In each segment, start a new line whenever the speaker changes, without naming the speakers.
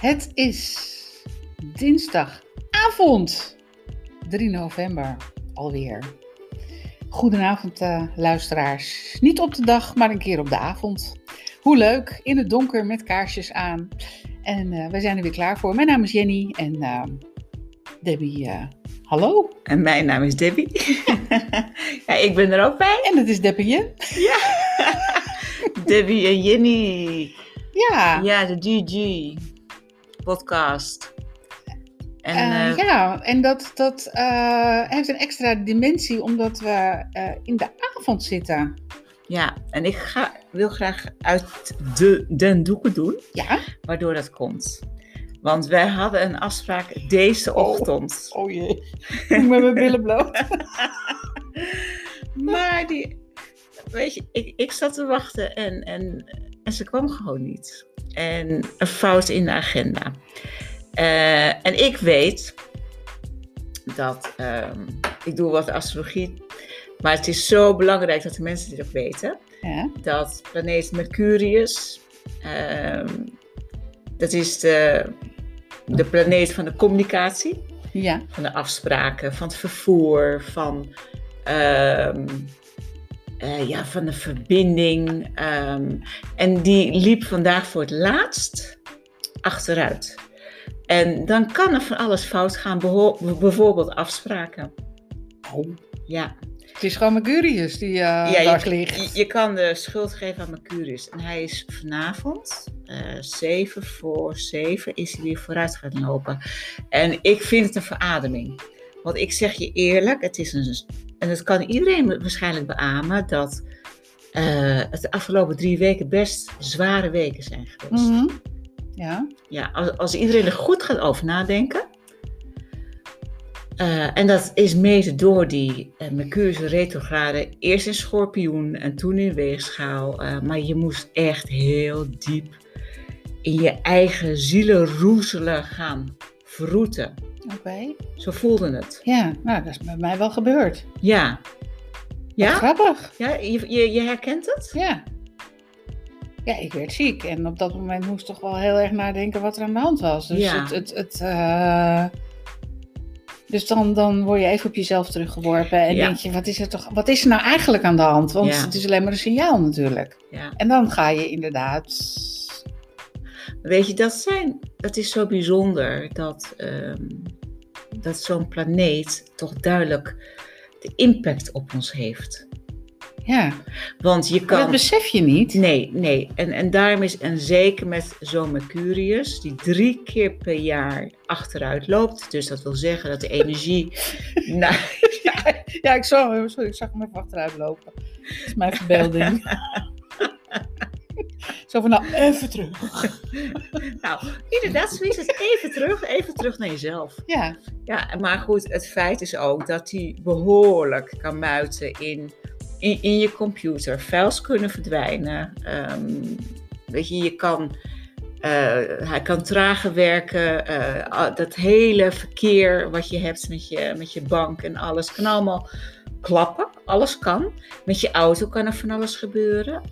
Het is dinsdagavond 3 november alweer. Goedenavond, eh, luisteraars. Niet op de dag, maar een keer op de avond. Hoe leuk, in het donker met kaarsjes aan. En eh we zijn er weer klaar voor. Mijn naam is Jenny en eh, Debbie, eh, hallo.
En mijn naam is Debbie. ja, ik ben er ook bij.
En dat is Debbie.
Debbie en Jenny.
Ja,
Ja, de GG podcast. En
Eh,
eh,
ja, en dat, dat eh, heeft een extra dimensie omdat we eh, in de avond zitten.
ja, en ik ga, wil graag uit de, den doeken doen,
Ja?
waardoor dat komt. Want wij hadden een afspraak deze
Oh.
ochtend.
Oh jee. Met mijn billen bloot.
Maar die, weet je, ik, ik zat te wachten en, en, en ze kwam gewoon niet. En een fout in de agenda. Eh, en ik weet dat, ehm, ik doe wat astrologie, maar het is zo belangrijk dat de mensen dit ook weten,
Ja.
dat planeet Mercurius, ehm, dat is de, de planeet van de communicatie
ja.
van de afspraken, van het vervoer, van, ehm, eh, ja, van de verbinding. ehm. en die liep vandaag voor het laatst achteruit. En dan kan er van alles fout gaan, beho- bijvoorbeeld afspraken.
Oh.
Ja,
Het is gewoon Mercurius die eh
Ja,
dwars
je,
ligt.
je kan de schuld geven aan Mercurius. En hij is vanavond, eh 7 voor 7, is hij weer vooruit gaan lopen. En ik vind het een verademing. Want ik zeg je eerlijk, het is een, en dat kan iedereen waarschijnlijk beamen, dat eh, het de afgelopen drie weken best zware weken zijn geweest.
Mhm. Ja.
Ja, als, als iedereen er goed gaat over nadenken. eh, en dat is mede door die eh, Mercurius retrograde. Eerst in schorpioen en toen in weegschaal. eh, maar je moest echt heel diep in je eigen zielenroezelen gaan vroeten.
Oké.
Zo voelde het.
Ja, nou dat is bij mij wel gebeurd.
Ja.
Wat
Ja?
grappig.
ja je, je, je herkent het?
Ja. Ja, ik werd ziek en op dat moment moest ik toch wel heel erg nadenken wat er aan de hand was. Dus,
Ja.
het, het, het, eh, dus dan, dan word je even op jezelf teruggeworpen en
Ja.
denk je, wat is, er toch, wat is er nou eigenlijk aan de hand? Want
Ja.
het is alleen maar een signaal natuurlijk.
Ja.
En dan ga je inderdaad...
Weet je, dat, zijn, dat is zo bijzonder dat, ehm, dat zo'n planeet toch duidelijk de impact op ons heeft.
Ja,
Want je
Maar dat
kan.
besef je niet.
Nee, nee. En, en daarom is, en zeker met zo'n Mercurius, die drie keer per jaar achteruit loopt. Dus dat wil zeggen dat de energie. nou,
Ja, ik zag, hem- sorry, ik zag hem even achteruit lopen. Dat is mijn verbeelding. Zo van, nou, even terug.
nou, inderdaad, zo is het. Even terug, even terug naar jezelf.
Ja,
Ja, maar goed, het feit is ook dat hij behoorlijk kan muiten in, in, in je computer. Files kunnen verdwijnen. Ehm, weet je, je kan, eh, hij kan trager werken. eh, al- dat hele verkeer wat je hebt met je, met je bank en alles kan allemaal klappen. Alles kan. Met je auto kan er van alles gebeuren.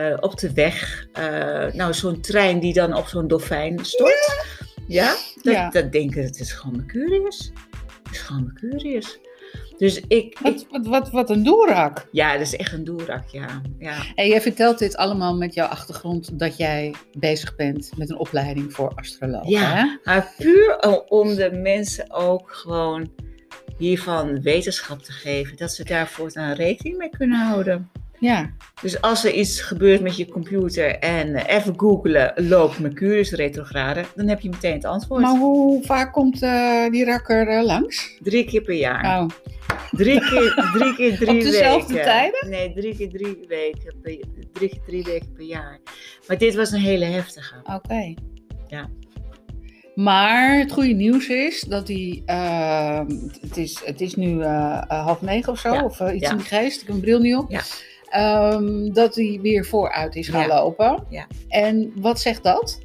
Eh, op de weg. eh, nou, zo'n trein die dan op zo'n dolfijn stort. Ja? Dat,
Ja.
dat denken, het is gewoon Mercurius. Het is gewoon Mercurius. Dus ik, ik-
wat, wat, wat, wat een doerak.
Ja, dat is echt een doerak, ja. ja.
En jij vertelt dit allemaal met jouw achtergrond dat jij bezig bent met een opleiding voor astroloog.
Ja.
hè?
Maar puur o- om de mensen ook gewoon hiervan wetenschap te geven. Dat ze daar voortaan rekening mee kunnen houden.
ja.
Dus als er iets gebeurt met je computer en eh, even googelen, loopt Mercurius retrograde, dan heb je meteen het antwoord.
Maar hoe vaak komt eh, die rakker eh, langs?
Drie keer per jaar.
Nou,
Drie keer, drie keer drie
Op dezelfde
weken.
tijden?
Nee, drie keer drie weken. Per, drie keer drie weken per jaar. Maar dit was een hele heftige.
oké.
Ja.
Maar het goede nieuws is dat die. eh, het, is, het is nu eh, eh, half negen of zo,
Ja,
of eh, iets
ja.
in die geest. Ik heb een bril niet op.
Ja.
Ehm, dat die weer vooruit is gaan
Ja.
lopen.
Ja.
En wat zegt dat?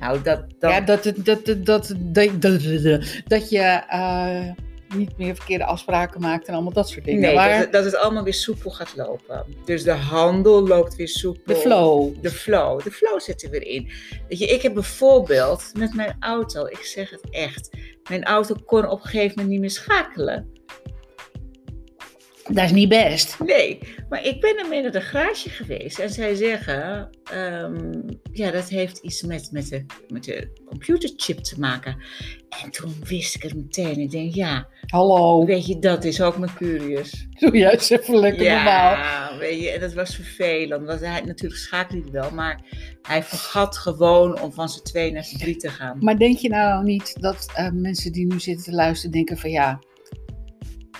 Nou, dat, dat,
Ja, dat, het- dat, dat, dat, dat, dat, dat je eh, niet meer verkeerde afspraken maakt en allemaal dat soort dingen.
Nee,
maar
dat, het- dat het allemaal weer soepel gaat lopen. Dus de handel loopt weer soepel.
de flow.
De flow. De flow zit er weer in. Weet je, ik heb bijvoorbeeld met mijn auto, ik zeg het echt, mijn auto kon op een gegeven moment niet meer schakelen.
Dat is niet best.
Nee, maar ik ben ermee naar de garage geweest en zij zeggen, ehm, ja, dat heeft iets met, met, de, met de computerchip te maken. En toen wist ik het meteen. Ik denk, ja,
Hallo.
weet je, dat is ook Mercurius.
Doe juist even lekker normaal.
weet je, en dat was vervelend. Want hij natuurlijk schakelde hij wel, maar hij vergat gewoon om van zijn twee naar zijn drie te gaan.
Maar denk je nou niet dat eh, mensen die nu zitten te luisteren denken van ja,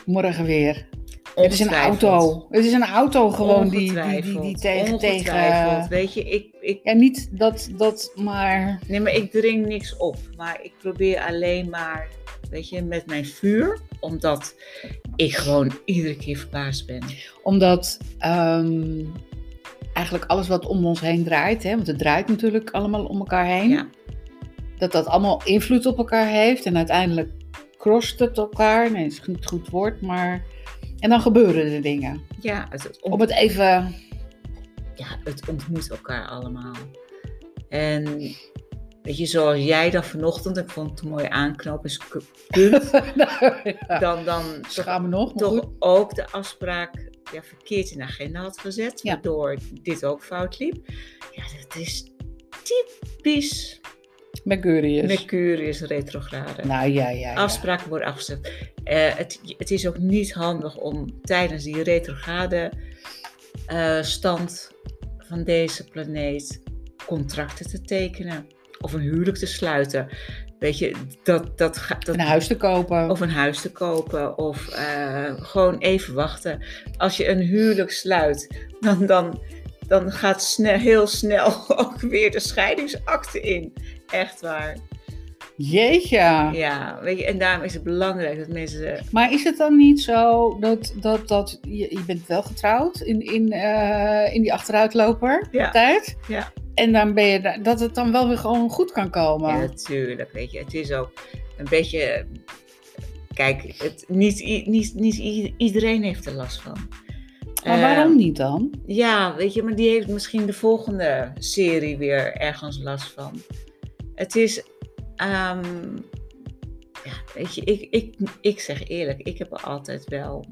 morgen weer. Het is een
Ongetwijfeld.
auto. Het is een auto gewoon die, die, die, die
Ongetwijfeld,
tegen...
ongetwijfeld.
tegen
Weet je, ik, ik,
ja, niet dat, dat maar...
nee, maar ik dring niks op. Maar ik probeer alleen maar, weet je, met mijn vuur. Omdat ik gewoon iedere keer verbaasd ben.
Omdat ehm, eigenlijk alles wat om ons heen draait, hè, want het draait natuurlijk allemaal om elkaar heen,
Ja.
dat dat allemaal invloed op elkaar heeft en uiteindelijk crosst het elkaar. Nee, dat is niet het goed woord, maar. En dan gebeuren er dingen.
Ja, het, het
Om het even.
ja, het ontmoet elkaar allemaal. En weet je, zoals jij dat vanochtend, ik vond het een mooie aanknopingspunt, dan, dan toch,
Schaam me nog. maar goed.
toch ook de afspraak ja, verkeerd in de agenda had gezet,
Ja.
waardoor dit ook fout liep. Ja, dat is typisch
Mercurius.
Mercurius retrograde.
nou ja, ja. ja.
Afspraken worden afgezet. Eh, het, het is ook niet handig om tijdens die retrograde eh, stand van deze planeet contracten te tekenen of een huwelijk te sluiten. Weet je, dat, dat gaat. Dat,
Een huis te kopen.
Of een huis te kopen of eh, gewoon even wachten. Als je een huwelijk sluit, dan, dan, dan gaat snel, heel snel ook weer de scheidingsakte in. Echt waar.
Jeetje.
Ja, weet je, en daarom is het belangrijk dat mensen
Maar is het dan niet zo dat, dat, dat je, je bent wel getrouwd in, in, eh, in die achteruitloper
Ja.
tijd?
Ja.
En dan ben je da- dat het dan wel weer gewoon goed kan komen.
Ja, natuurlijk. Weet je, het is ook een beetje. Kijk, het, niet, i- niet, niet i- iedereen heeft er last van.
maar
Eh,
waarom niet dan?
Ja, weet je, maar die heeft misschien de volgende serie weer ergens last van. Het is. ehm, ja, weet je, ik, ik, ik zeg eerlijk, ik heb er altijd wel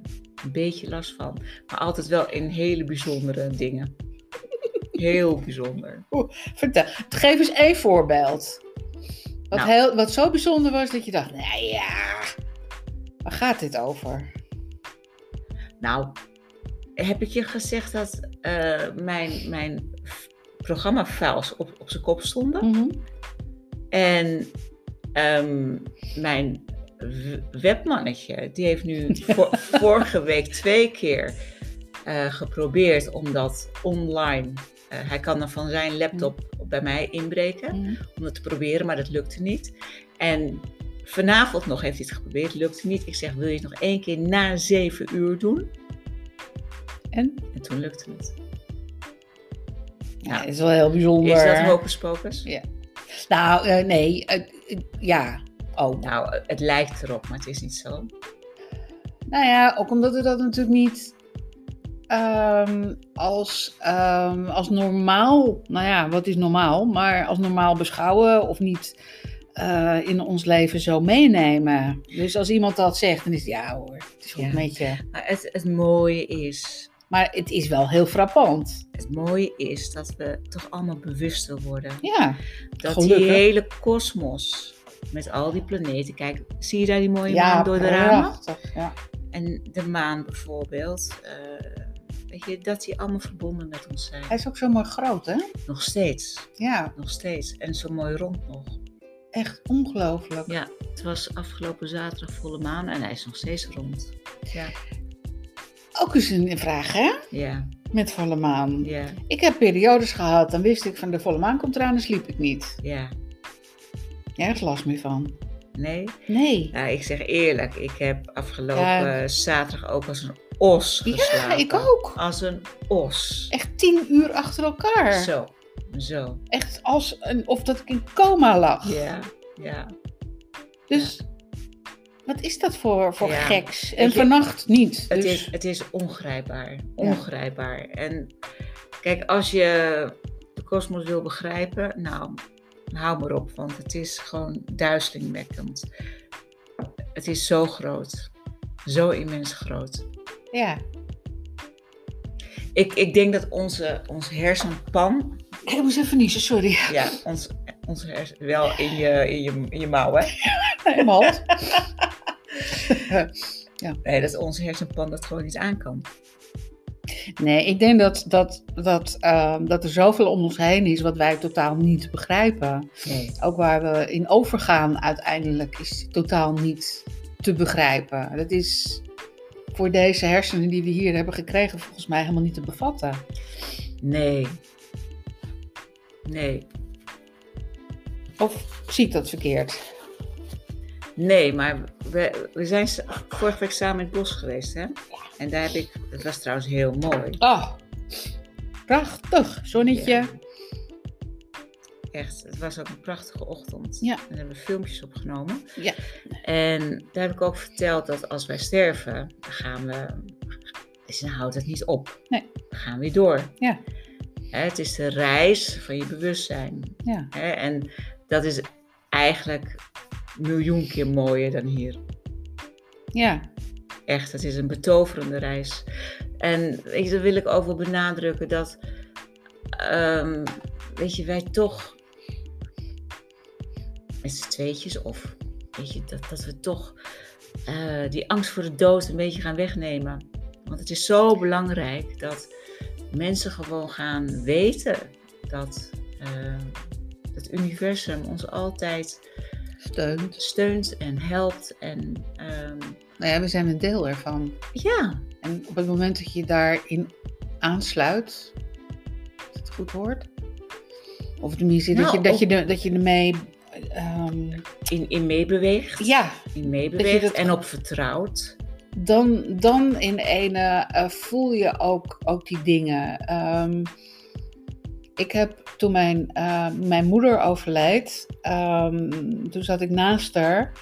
een beetje last van. Maar altijd wel in hele bijzondere dingen. Heel bijzonder.
Vertel, geef eens één voorbeeld. Wat,
Nou.
heel, wat zo bijzonder was dat je dacht, nou ja, waar gaat dit over?
Nou, heb ik je gezegd dat eh, mijn, mijn f- programma-files op, op zijn kop stonden?
Mhm.
En ehm, mijn w- webmannetje, die heeft nu vo- vorige week twee keer eh, geprobeerd om dat online... eh, hij kan dan van zijn laptop bij mij inbreken
Mhm.
om het te proberen, maar dat lukte niet. En vanavond nog heeft hij het geprobeerd, lukte niet. Ik zeg, wil je het nog één keer na zeven uur doen?
En?
En toen lukte het.
Ja,
Nou,
dat is wel heel bijzonder.
Is dat hocus pocus?
Nou, eh, nee, eh, eh, ja. Oh,
Nou, het lijkt erop, maar het is niet zo.
Nou ja, ook omdat we dat natuurlijk niet ehm, als, ehm, als normaal, nou ja, wat is normaal, maar als normaal beschouwen of niet eh, in ons leven zo meenemen. Dus als iemand dat zegt, dan is het ja hoor, het is wel een
Ja.
beetje.
Maar het, het mooie is,
Maar het is wel heel frappant.
het mooie is dat we toch allemaal bewuster worden.
Ja,
Dat die
gelukkig.
hele kosmos met al die planeten, kijk, zie je daar die mooie
ja
maan door de ramen?
prachtig, Ja.
En de maan bijvoorbeeld, eh, weet je, dat die allemaal verbonden met ons
Hij
zijn.
is ook zo mooi groot, hè?
Nog steeds,
Ja,
nog steeds. En zo mooi rond nog.
echt ongelooflijk.
Ja, het was afgelopen zaterdag volle maan en hij is nog steeds rond. Ja,
Ook eens een vraag, hè?
ja,
Met volle maan.
ja.
Ik heb periodes gehad, dan wist ik van de volle maan komt eraan en sliep ik niet.
Ja,
Nergens last meer van.
nee.
Nee.
Nou, ik zeg eerlijk, ik heb afgelopen
Ja.
zaterdag ook als een os
Ja,
geslapen.
ik ook.
Als een os.
Echt tien uur achter elkaar.
Zo, zo.
Echt als een, of dat ik in coma lag.
Ja, ja.
Dus Wat is dat voor, voor
Ja.
geks? En
Weet je,
vannacht niet.
Het,
dus-
is, het is ongrijpbaar. Ongrijpbaar. En kijk, als je de kosmos wil begrijpen, nou, hou maar op, want het is gewoon duizelingwekkend. Het is zo groot. Zo immens groot.
Ja,
Ik, ik denk dat onze, ons hersenpan,
ik moest even niezen, sorry.
ja, ons, ons hersen, wel in je, in, je, in je mouw, hè?
Mijn hals.
Nee, dat ons hersenpan dat gewoon niet aan kan.
Nee, ik denk dat, dat, dat, ehm, dat er zoveel om ons heen is wat wij totaal niet begrijpen.
Nee.
Ook waar we in overgaan uiteindelijk is totaal niet te begrijpen. Dat is voor deze hersenen die we hier hebben gekregen volgens mij helemaal niet te bevatten.
Nee. Nee.
Of zie ik dat verkeerd?
Nee, maar we, we zijn s- vorige week samen in het bos geweest, hè? En daar heb ik, het was trouwens heel mooi.
Oh, prachtig. Zonnetje.
Ja. Echt, het was ook een prachtige ochtend.
Ja.
En daar hebben we filmpjes opgenomen.
Ja.
En daar heb ik ook verteld dat als wij sterven, dan gaan we, dus dan houdt het niet op.
Nee.
We gaan weer door.
Ja.
Hè, Het is de reis van je bewustzijn.
Ja.
Hè? En dat is eigenlijk een miljoen keer mooier dan hier.
ja.
Echt, het is een betoverende reis. En weet je, daar wil ik ook wel benadrukken dat, ehm, weet je, wij toch met z'n tweetjes of, weet je, dat, dat we toch eh, die angst voor de dood een beetje gaan wegnemen. Want het is zo belangrijk dat mensen gewoon gaan weten dat eh, het universum ons altijd
Steunt.
steunt en helpt. En ehm,
Nou ja, we zijn een deel ervan.
ja,
En op het moment dat je daarin aansluit, is het goed woord? Of tenminste, dat,
Nou,
je, dat,
of-
je, de, dat je ermee. ehm,
in, in meebeweegt.
ja,
in
Dat je
meebeweegt
dat-
en op vertrouwt.
dan, dan in ene eh, voel je ook, ook die dingen. Ehm, ik heb toen mijn, eh, mijn moeder overleed, ehm, toen zat ik naast haar.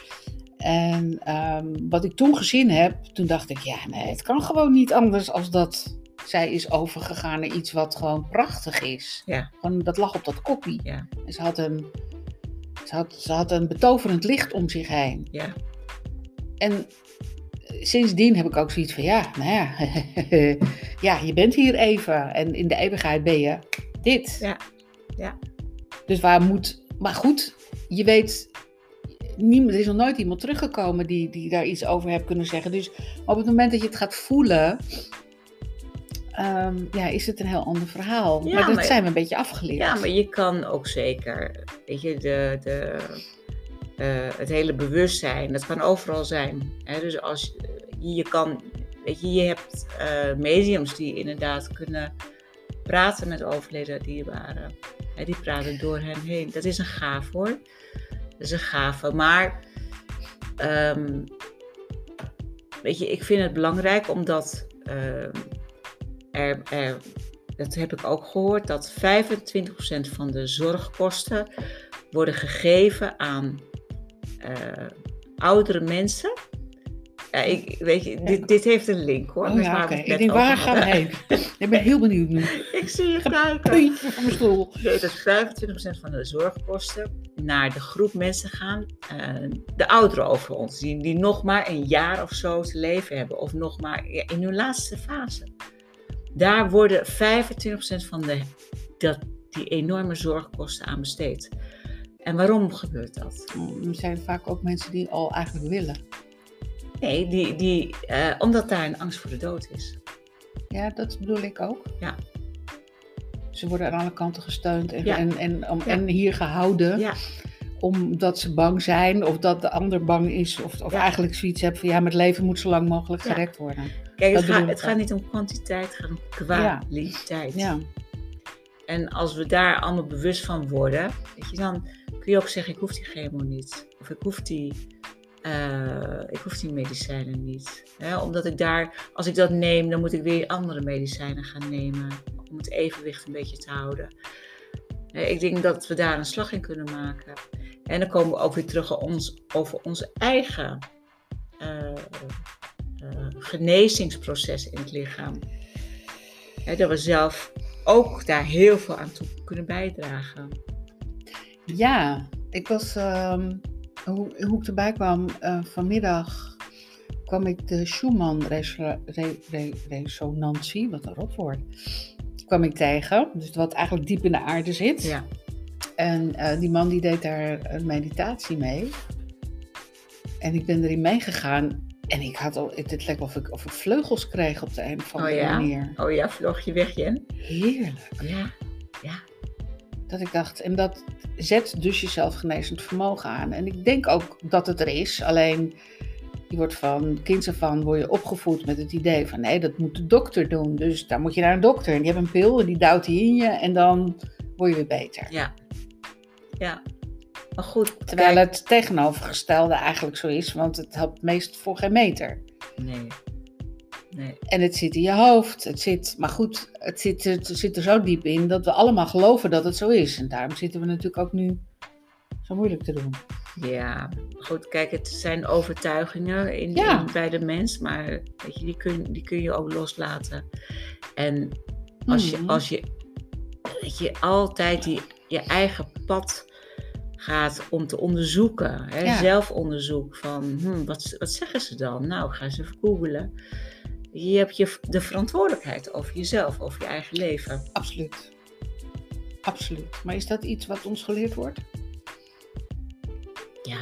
En ehm, wat ik toen gezien heb, toen dacht ik, ja nee, het kan gewoon niet anders als dat zij is overgegaan naar iets wat gewoon prachtig is.
Ja.
Gewoon, dat lag op dat koppie.
Ja.
En ze had, een, ze, had, ze had een betoverend licht om zich heen.
Ja,
En eh, sindsdien heb ik ook zoiets van, ja, nou ja, ja, je bent hier even en in de eeuwigheid ben je dit.
Ja, ja.
Dus waar moet, maar goed, je weet, niemand, er is nog nooit iemand teruggekomen die, die daar iets over heeft kunnen zeggen. Dus op het moment dat je het gaat voelen, ehm, ja, is het een heel ander verhaal.
Ja,
maar dat
maar-
zijn we een beetje afgeleerd.
ja maar je kan ook zeker, weet je, de, de, eh, het hele bewustzijn, dat kan overal zijn. Hè? Dus als je, je kan, weet je, je hebt eh, mediums die inderdaad kunnen praten met overleden dierbaren. Hè? Die praten door hen heen. Dat is een gaaf hoor. Dat is een gave. Maar, ehm, weet je, ik vind het belangrijk omdat ehm, er, er, dat heb ik ook gehoord, dat 25% van de zorgkosten worden gegeven aan eh, oudere mensen. Ja, ik, weet je, dit, dit heeft een link hoor.
Oh
met
ja,
waar
oké.
we het
Ik
net
denk,
over
waar gaan we
hadden.
heen? Ik ben heel benieuwd nu.
Ik zie je kijken.
Puntje van mijn stoel.
Nee, Dus dat 25% van de zorgkosten naar de groep mensen gaan, eh, de ouderen over ons, die, die nog maar een jaar of zo te leven hebben, of nog maar ja, in hun laatste fase. Daar worden 25% van de, dat, die enorme zorgkosten aan besteed. En waarom gebeurt dat?
Er zijn vaak ook mensen die al eigenlijk willen.
Nee, die, die, eh, omdat daar een angst voor de dood is.
Ja, dat bedoel ik ook.
Ja.
Ze worden aan alle kanten gesteund en,
Ja.
en, en, om,
Ja.
en hier gehouden.
Ja.
Omdat ze bang zijn of dat de ander bang is. Of, of
Ja.
eigenlijk zoiets hebben van ja, maar het leven moet zo lang mogelijk
Ja.
gerekt worden.
Kijk,
Dat
het,
bedoel
gaat,
ik
het
ook.
gaat niet om kwantiteit, het gaat om kwaliteit.
Ja,
En als we daar allemaal bewust van worden, weet je, dan kun je ook zeggen, ik hoef die chemo niet. Of ik hoef die, eh, ik hoef die medicijnen niet. Hè, omdat ik daar, als ik dat neem, dan moet ik weer andere medicijnen gaan nemen. Om het evenwicht een beetje te houden. Hè, ik denk dat we daar een slag in kunnen maken. En dan komen we ook weer terug op ons, over onze eigen eh, genezingsproces in het lichaam. Hè, dat we zelf ook daar heel veel aan toe kunnen bijdragen.
Ja, ik was, ehm, hoe, hoe ik erbij kwam, eh, vanmiddag kwam ik de Schumann-resonantie, wat een rotwoord, kwam ik tegen. Dus wat eigenlijk diep in de aarde zit.
Ja.
En eh, die man die deed daar een meditatie mee. En ik ben erin meegegaan. En ik had al, het, het leek of ik, of ik vleugels kreeg op de een of andere
Oh ja?
manier.
Oh ja, vlog je weg, Jen?
Heerlijk.
Oh Ja.
Dat ik dacht, en dat zet dus je zelfgenezend vermogen aan. En ik denk ook dat het er is, alleen je wordt van kinds af aan word je opgevoed met het idee van nee, dat moet de dokter doen. Dus daar moet je naar een dokter en die hebben een pil en die duwt die in je en dan word je weer beter.
Ja. Ja. Maar goed.
Terwijl
kijk-
het tegenovergestelde eigenlijk zo is, want het helpt meest voor geen meter.
Nee. Nee.
En het zit in je hoofd, het zit, maar goed, het zit, het zit er zo diep in dat we allemaal geloven dat het zo is. En daarom zitten we natuurlijk ook nu zo moeilijk te doen.
Ja, goed, kijk, het zijn overtuigingen in,
Ja.
in- bij de mens, maar weet je, die, kun, die kun je ook loslaten. En als je,
Mhm.
als je, dat je altijd die, je eigen pad gaat om te onderzoeken, hè,
Ja.
zelfonderzoek van hmm, wat, wat zeggen ze dan? Nou, ga ze even googelen. Je hebt je, de verantwoordelijkheid over jezelf, over je eigen leven.
Absoluut. Absoluut. Maar is dat iets wat ons geleerd wordt,
Ja,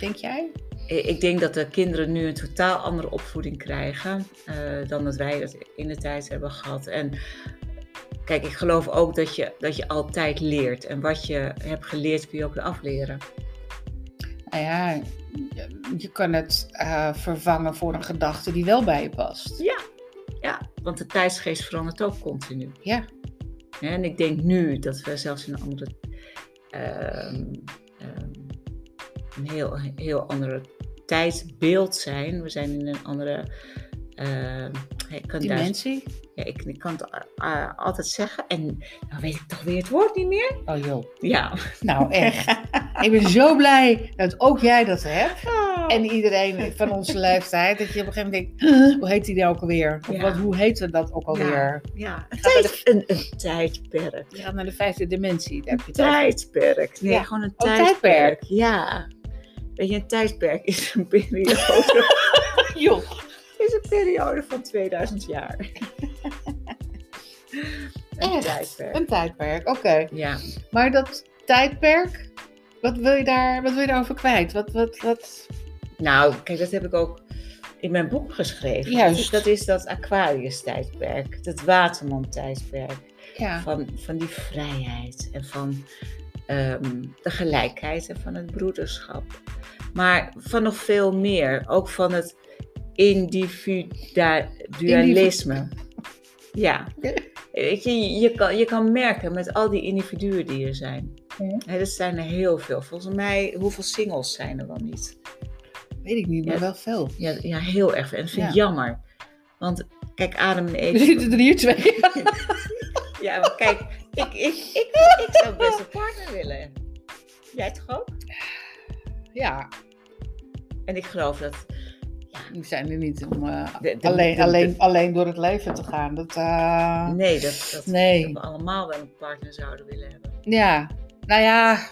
denk jij?
Ik Eh, ik denk dat de kinderen nu een totaal andere opvoeding krijgen eh, dan dat wij dat in de tijd hebben gehad. En kijk, ik geloof ook dat je, dat je altijd leert. En wat je hebt geleerd kun je ook weer afleren.
Nou ja, je- je kan het eh, vervangen voor een gedachte die wel bij je past.
Ja, ja want de tijdsgeest verandert ook continu.
Ja.
Hè, En ik denk nu dat we zelfs in een andere. ehm, ehm, een heel, heel andere tijdsbeeld zijn. We zijn in een andere. ehm, ik kan
Die
daar
Dimensie?
Ja, ik, ik kan het eh, eh, altijd zeggen. En dan weet ik toch weer het woord niet meer.
Oh joh.
Ja.
Nou echt. ik ben zo blij dat ook jij dat hebt. En
En,
iedereen van onze leeftijd. Dat je op een gegeven moment denkt, "Huh, hoe heet die nou ook alweer? Of
Ja.
wat, hoe heette dat ook alweer?
ja. Een,
Gaat
tijd, een, een tijdperk.
Je gaat naar de vijfde dimensie. Daar heb je het over.
Tijdperk. Nee,
Ja.
gewoon een
Oh,
tijdperk.
tijdperk.
Ja. Weet je, een tijdperk is een periode,
Joh.
is een periode van 2000 jaar. een
Echt?
tijdperk.
Een tijdperk, oké.
Ja.
Maar dat tijdperk, wat wil je, daar, wat wil je daarover kwijt? Wat, wat, wat...
Nou, kijk, dat heb ik ook in mijn boek geschreven.
Juist.
Dat is dat Aquarius-tijdperk, dat Waterman-tijdperk.
Ja.
van, van die vrijheid en van ehm, de gelijkheid en van het broederschap. Maar van nog veel meer, ook van het individualisme. Ja, Weet je, je, kan, je kan merken met al die individuen die er zijn.
Ja.
Hè, dat zijn er heel veel. Volgens mij, hoeveel singles zijn er wel niet?
Weet ik niet, maar
Ja.
wel veel.
Ja, ja heel erg. veel. En dat vind ik jammer. Want kijk, Adam en
Er
Eve...
zitten er hier twee.
Ja, maar kijk, ik, ik, ik, ik zou best een partner willen. Jij toch ook?
Ja,
En ik geloof dat.
we zijn er niet om eh,
de- de-
alleen,
de-
alleen, alleen door het leven te gaan. Dat, eh,
Nee, dat, dat,
Nee.
dat we allemaal wel een partner zouden willen hebben.
Ja, nou ja,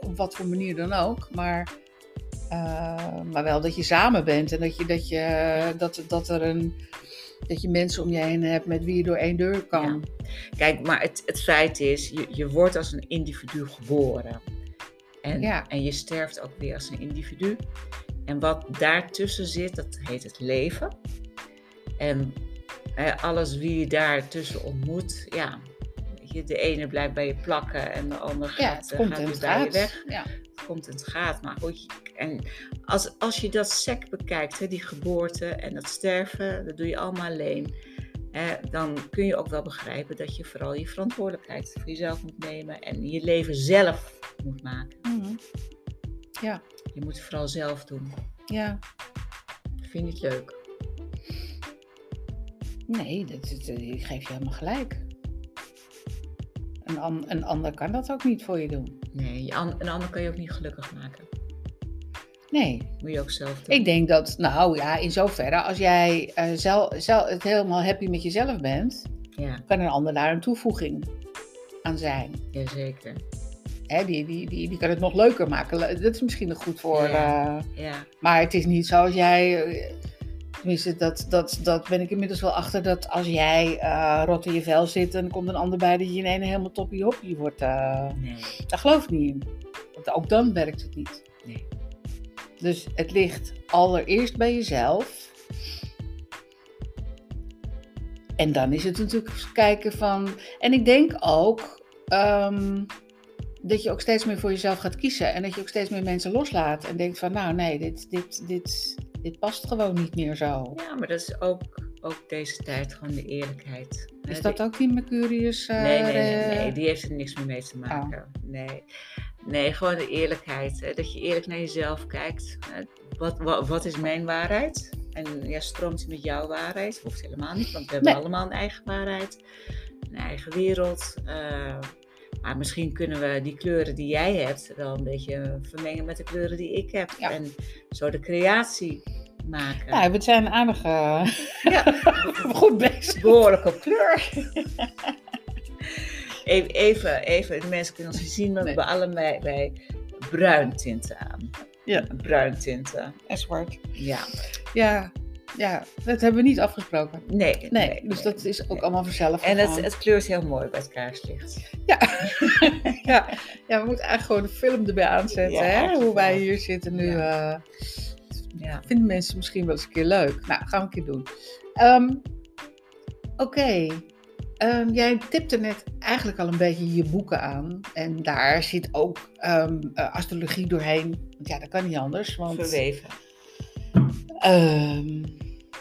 op wat voor manier dan ook. Maar, eh, maar wel dat je samen bent en dat je, dat, je, dat, dat, er een, dat je mensen om je heen hebt met wie je door één deur kan.
Kijk, maar het, het feit is, je, je wordt als een individu geboren. En,
Ja.
en je sterft ook weer als een individu. En wat daartussen zit, dat heet het leven. En eh, alles wie je daartussen ontmoet, ja. weet je, De ene blijft bij je plakken en de ander
Ja,
gaat,
het
eh,
komt
gaat
en
weer
het
bij je
gaat.
weg.
Ja.
komt en het gaat. Maar goed, je- en als, als je dat sec bekijkt, hè, die geboorte en dat sterven, dat doe je allemaal alleen. Hè, dan kun je ook wel begrijpen dat je vooral je verantwoordelijkheid voor jezelf moet nemen en je leven zelf moet maken.
Mhm.
Je moet het vooral zelf doen.
ja.
Vind je het leuk?
Nee, dat, dat- dat- ik geef je helemaal gelijk. Een, an- een ander kan dat ook niet voor je doen.
Nee, je an- een ander kan je ook niet gelukkig maken.
Nee,
Moet je ook zelf doen.
ik denk dat, nou ja, in zoverre, als jij eh, zel, zel, het helemaal happy met jezelf bent,
Ja,
kan een ander daar een toevoeging aan zijn.
jazeker.
Hè, die, die, die, die kan het nog leuker maken. Le- Dat is misschien nog goed voor.
Ja.
eh,
Ja,
maar het is niet zoals jij. eh, Tenminste, dat, dat, dat ben ik inmiddels wel achter. Dat als jij eh rot in je vel zit, dan komt een ander bij dat je in één helemaal toppie hoppie wordt. eh,
nee.
daar geloof ik niet in. Want ook dan werkt het niet.
Nee.
Dus het ligt allereerst bij jezelf. En dan is het natuurlijk eens kijken van. En ik denk ook ehm, dat je ook steeds meer voor jezelf gaat kiezen. En dat je ook steeds meer mensen loslaat. En denkt van, nou nee, dit, dit, dit, dit past gewoon niet meer zo.
Ja, maar dat is ook, ook deze tijd gewoon de eerlijkheid.
Is
Hè,
dat ook die Mercurius? eh,
Nee, nee, nee, nee,
eh,
die heeft er niks meer mee
Oh.
te maken. Nee. nee, gewoon de eerlijkheid. Hè? Dat je eerlijk naar jezelf kijkt. Eh, Wat, wat, wat is mijn waarheid? En ja, stroomt die met jouw waarheid? Hoeft helemaal niet, want we hebben
Nee.
allemaal een eigen waarheid. Een eigen wereld. eh, maar misschien kunnen we die kleuren die jij hebt wel een beetje vermengen met de kleuren die ik heb.
Ja.
En zo de creatie maken.
Nou, we zijn aardig eh,
Ja.
goed bezig.
behoorlijk op kleur. Even, even, even, de mensen kunnen ons niet zien, maar
Nee.
we hebben allebei bij bruin tinten aan.
Ja.
Bruin tinten.
En zwart.
Ja.
Ja, ja, dat hebben we niet afgesproken.
Nee.
Nee, dus dat is ook
nee.
allemaal vanzelf.
En
gegaan.
het, het kleurt heel mooi bij het kaarslicht.
ja, ja, we moeten eigenlijk gewoon de film erbij aanzetten.
Ja,
hè?
eigenlijk
Hoe wij
wel.
hier zitten nu. eh,
Ja.
vinden mensen misschien wel eens een keer leuk. Nou, gaan we een keer doen. Ehm, Oké. Ehm, jij tipte net eigenlijk al een beetje je boeken aan. En daar zit ook ehm, eh, astrologie doorheen. Want ja, dat kan niet anders. Want
Verweven.
Ehm,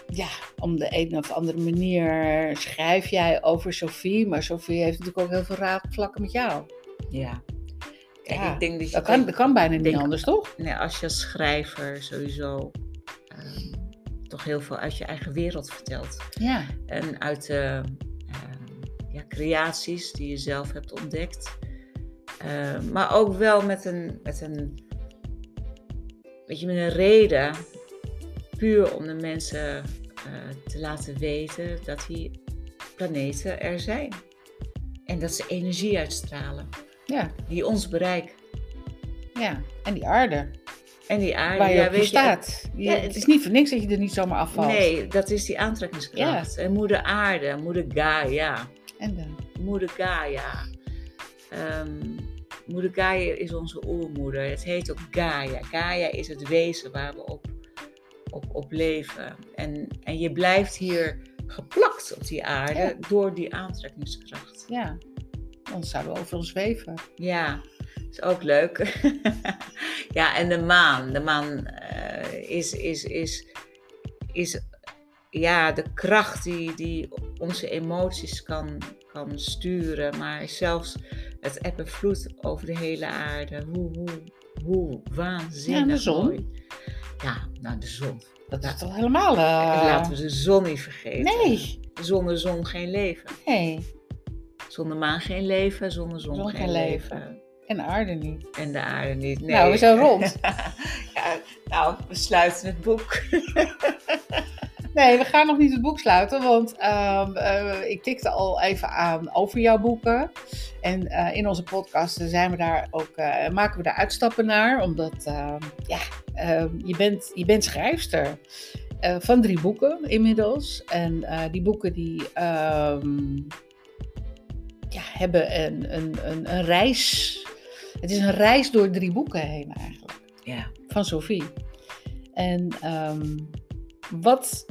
ja, om de een of andere manier schrijf jij over Sophie, maar Sophie heeft natuurlijk ook heel veel raakvlakken met jou.
Ja. Kijk,
Ja,
ik denk dat je...
Dat kan, dat kan bijna niet
denk-
anders, toch?
Nee, als je als schrijver sowieso ehm, toch heel veel uit je eigen wereld vertelt.
Ja.
en uit de eh, ja, creaties die je zelf hebt ontdekt. Eh, maar ook wel met een, met een, weet je, met een reden. Puur om de mensen eh, te laten weten dat die planeten er zijn. En dat ze energie uitstralen
Ja,
die ons bereikt.
ja. En die aarde,
En die aarde.
waar je
Ah, ja,
op
weet je,
staat. Je-
ja,
het is niet voor niks dat je er niet zomaar afvalt.
nee, dat is die aantrekkingskracht. En moeder aarde, moeder Gaia.
En dan?
Moeder Gaia. Ehm, moeder Gaia is onze oermoeder. Het heet ook Gaia. Gaia is het wezen waar we op, op, op leven. En, en je blijft hier geplakt op die aarde
Ja.
door die aantrekkingskracht.
Ja. Anders zouden we overal zweven.
Ja, is ook leuk. ja, en de maan. De maan eh, is, is, is, is ja, de kracht die, die onze emoties kan, kan sturen. Maar zelfs het eb en vloed over de hele aarde. Hoe, hoe, hoe waanzinnig
Ja, en de zon.
mooi. Ja, nou de zon.
Dat
Ja.
is toch helemaal... eh,
Laten we de zon niet vergeten.
Nee,
Zonder zon geen leven.
nee.
Zonder maan geen leven. Zonder zon,
Zon
geen,
geen leven.
leven.
En de aarde niet.
En de aarde niet. Nee.
Nou, we zijn rond.
ja, nou, we sluiten het boek.
Nee, we gaan nog niet het boek sluiten, want ehm, eh, ik tikte al even aan over jouw boeken. En eh, in onze podcast zijn we daar ook, eh, maken we daar uitstappen naar, omdat ehm, ja, ehm, je, bent, je bent schrijfster eh, van drie boeken inmiddels. En eh, die boeken die ehm, ja, hebben een, een, een, een reis. Het is een reis door drie boeken heen eigenlijk
Ja.
van Sophie. En ehm, wat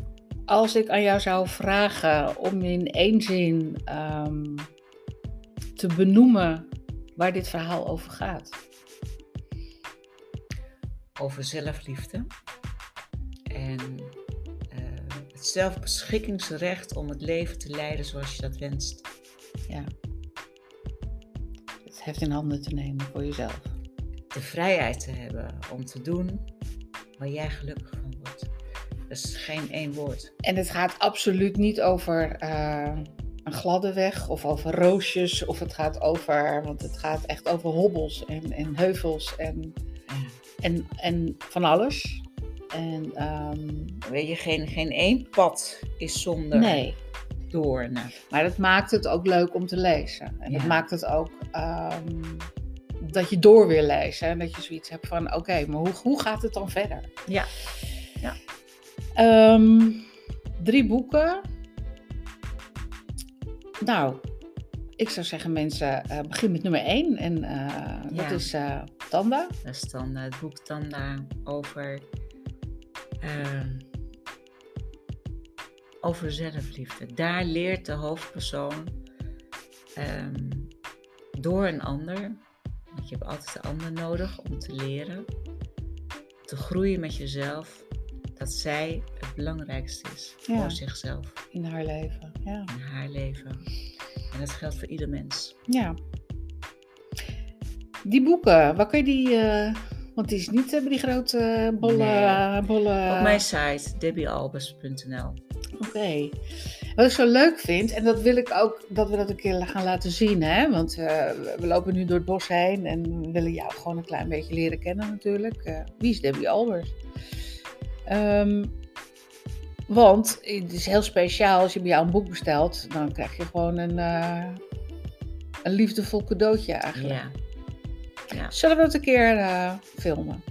als ik aan jou zou vragen om in één zin ehm, te benoemen waar dit verhaal over gaat?
Over zelfliefde. En eh, het zelfbeschikkingsrecht om het leven te leiden zoals je dat wenst.
Het heft in handen te nemen voor jezelf.
De vrijheid te hebben om te doen waar jij gelukkig van wordt. Dat is geen één woord.
En het gaat absoluut niet over eh, een gladde weg of over roosjes. Of het gaat over, want het gaat echt over hobbels en, en heuvels en,
Ja.
en, en van alles. En, ehm,
Weet je, geen, geen één pad is zonder
nee,
doornen.
maar dat maakt het ook leuk om te lezen. En dat
Ja.
maakt het ook ehm, dat je door wil lezen. En dat je zoiets hebt van, oké, maar hoe, hoe gaat het dan verder?
Ja. Ja.
Ehm, drie boeken. Nou, ik zou zeggen mensen, eh, begin met nummer één. En eh, dat
Ja.
is eh Tanda.
Dat is dan eh, het boek Tanda over, ehm, over zelfliefde. Daar leert de hoofdpersoon ehm, door een ander, want je hebt altijd de ander nodig om te leren, te groeien met jezelf, dat zij het belangrijkste is
Ja.
voor zichzelf
in haar leven. Ja.
en haar leven. En dat geldt voor ieder mens.
ja. Die boeken, waar kun je die... eh, want die is niet eh, bij die grote bolle...
Nee.
bolle
Op mijn site debbiealbers.nl.
Oké. Wat ik zo leuk vind, en dat wil ik ook dat we dat een keer gaan laten zien, hè? want eh, we- we lopen nu door het bos heen en we willen jou gewoon een klein beetje leren kennen natuurlijk. Eh, wie is Debbie Albers? Ehm, want het is heel speciaal, als je bij jou een boek bestelt, dan krijg je gewoon een, eh, een liefdevol cadeautje eigenlijk.
Ja,
Zullen we dat een keer eh, filmen?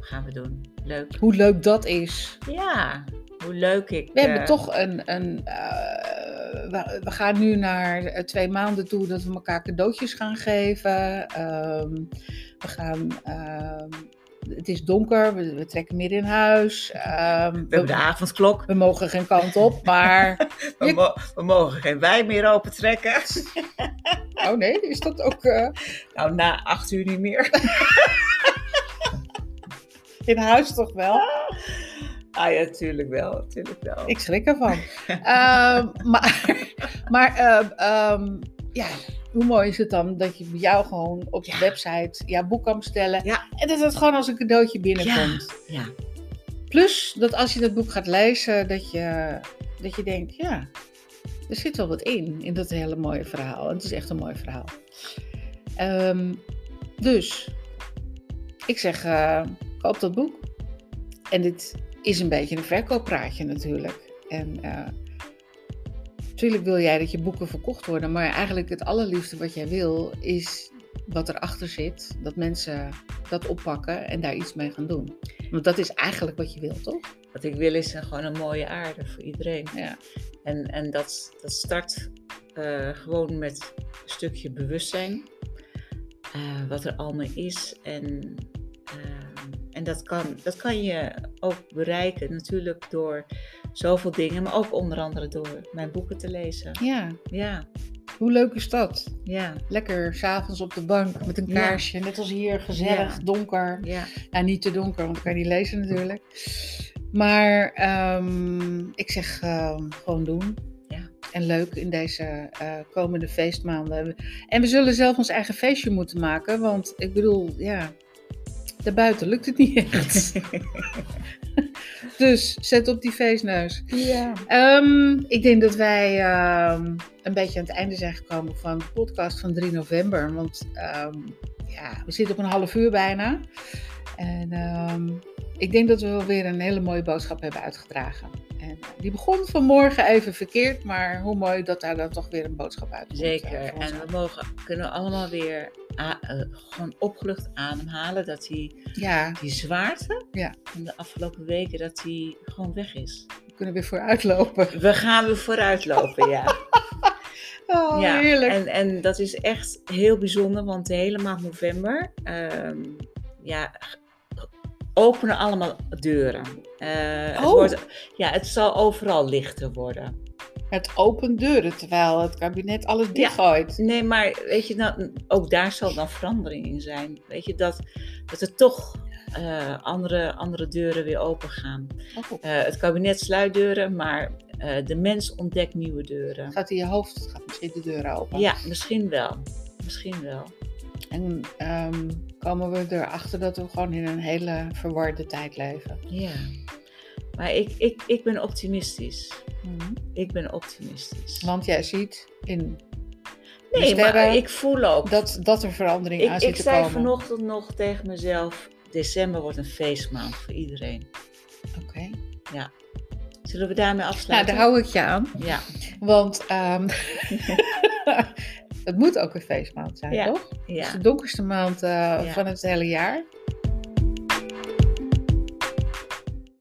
gaan we doen. Leuk.
Hoe leuk dat is.
Ja, hoe leuk ik.
We
eh,
hebben toch een. een eh, we, we gaan nu naar eh, twee maanden toe dat we elkaar cadeautjes gaan geven. Ehm, we gaan. ehm, het is donker, we, we trekken midden in huis. Ehm,
We hebben de avondklok.
we mogen geen kant op, maar.
We,
Je-
mo- we mogen geen wijn meer open trekken.
Oh nee, is dat ook eh,
Nou, na acht uur niet meer.
in huis toch wel?
Ah ja, tuurlijk wel. Tuurlijk wel.
Ik schrik ervan. Ehm, maar maar ehm, ehm, ja, hoe mooi is het dan dat je bij jou gewoon op je
Ja.
website jouw boek kan bestellen.
Ja.
En dat het gewoon als een cadeautje binnenkomt.
ja,
Plus dat als je dat boek gaat lezen, dat je, dat je denkt, ja, er zit wel wat in, in dat hele mooie verhaal. Het is echt een mooi verhaal. Ehm, dus, ik zeg, eh, koop dat boek. En dit is een beetje een verkooppraatje natuurlijk. En eh, natuurlijk wil jij dat je boeken verkocht worden, maar eigenlijk het allerliefste wat jij wil is wat erachter zit, dat mensen dat oppakken en daar iets mee gaan doen. Want dat is eigenlijk wat je wilt, toch?
wat ik wil is eh, gewoon een mooie aarde voor iedereen.
Ja.
En, en dat, dat start eh, gewoon met een stukje bewustzijn. eh, wat er allemaal is. En, eh, en dat, kan, dat kan je ook bereiken natuurlijk door zoveel dingen. Maar ook onder andere door mijn boeken te lezen.
Ja,
Ja,
hoe leuk is dat?
ja,
Lekker s'avonds op de bank met een
Ja.
kaarsje, net als hier, gezellig,
Ja.
donker.
ja.
Ja, niet te donker, want dan kan je niet lezen natuurlijk. Maar ehm, ik zeg ehm, gewoon doen.
Ja.
En leuk in deze eh, komende feestmaanden. En we zullen zelf ons eigen feestje moeten maken, want ik bedoel, ja, daarbuiten lukt het niet echt. dus zet op die feestneus.
ja.
Ehm, ik denk dat wij ehm, een beetje aan het einde zijn gekomen van de podcast van 3 november. Want ehm, ja, we zitten op een half uur bijna. En ehm, ik denk dat we wel weer een hele mooie boodschap hebben uitgedragen. En eh, die begon vanmorgen even verkeerd, maar hoe mooi dat daar dan toch weer een boodschap uit komt.
Zeker.
eh, voor ons
En we
uit.
mogen, kunnen allemaal weer a- eh, gewoon opgelucht ademhalen dat die,
Ja,
die zwaarte
Ja.
van de afgelopen weken, dat die gewoon weg is.
we kunnen weer vooruit lopen.
We gaan weer vooruitlopen, ja.
Oh,
ja.
heerlijk.
En, en dat is echt heel bijzonder, want de hele maand november, ehm, ja, g- openen allemaal deuren. Eh, het
Oh.
wordt, ja, het zal overal lichter worden.
Het opent deuren, terwijl het kabinet alles dichtgooit.
Nee, maar weet je, nou, ook daar zal dan verandering in zijn. Weet je, dat, dat er toch eh, andere, andere deuren weer open gaan.
Oh,
Eh, het kabinet sluit deuren, maar eh, de mens ontdekt nieuwe deuren.
gaat in je hoofd, gaat misschien de deuren open.
Ja, misschien wel. Misschien wel.
En ehm, komen we erachter dat we gewoon in een hele verwarde tijd leven.
Ja. Maar ik, ik, ik ben optimistisch. Ik ben optimistisch.
Want dus jij ziet in de
nee,
sterren
maar ik voel ook.
dat, dat er verandering aan
ik
zit
ik
te
zei
komen.
vanochtend nog tegen mezelf: december wordt een feestmaand voor iedereen.
Oké.
Zullen we daarmee
Nou,
afsluiten?
daar hou ik je aan.
Ja,
Want ehm, het moet ook een feestmaand zijn,
Ja.
toch? Het is
ja.
de donkerste maand eh,
Ja.
van het hele jaar.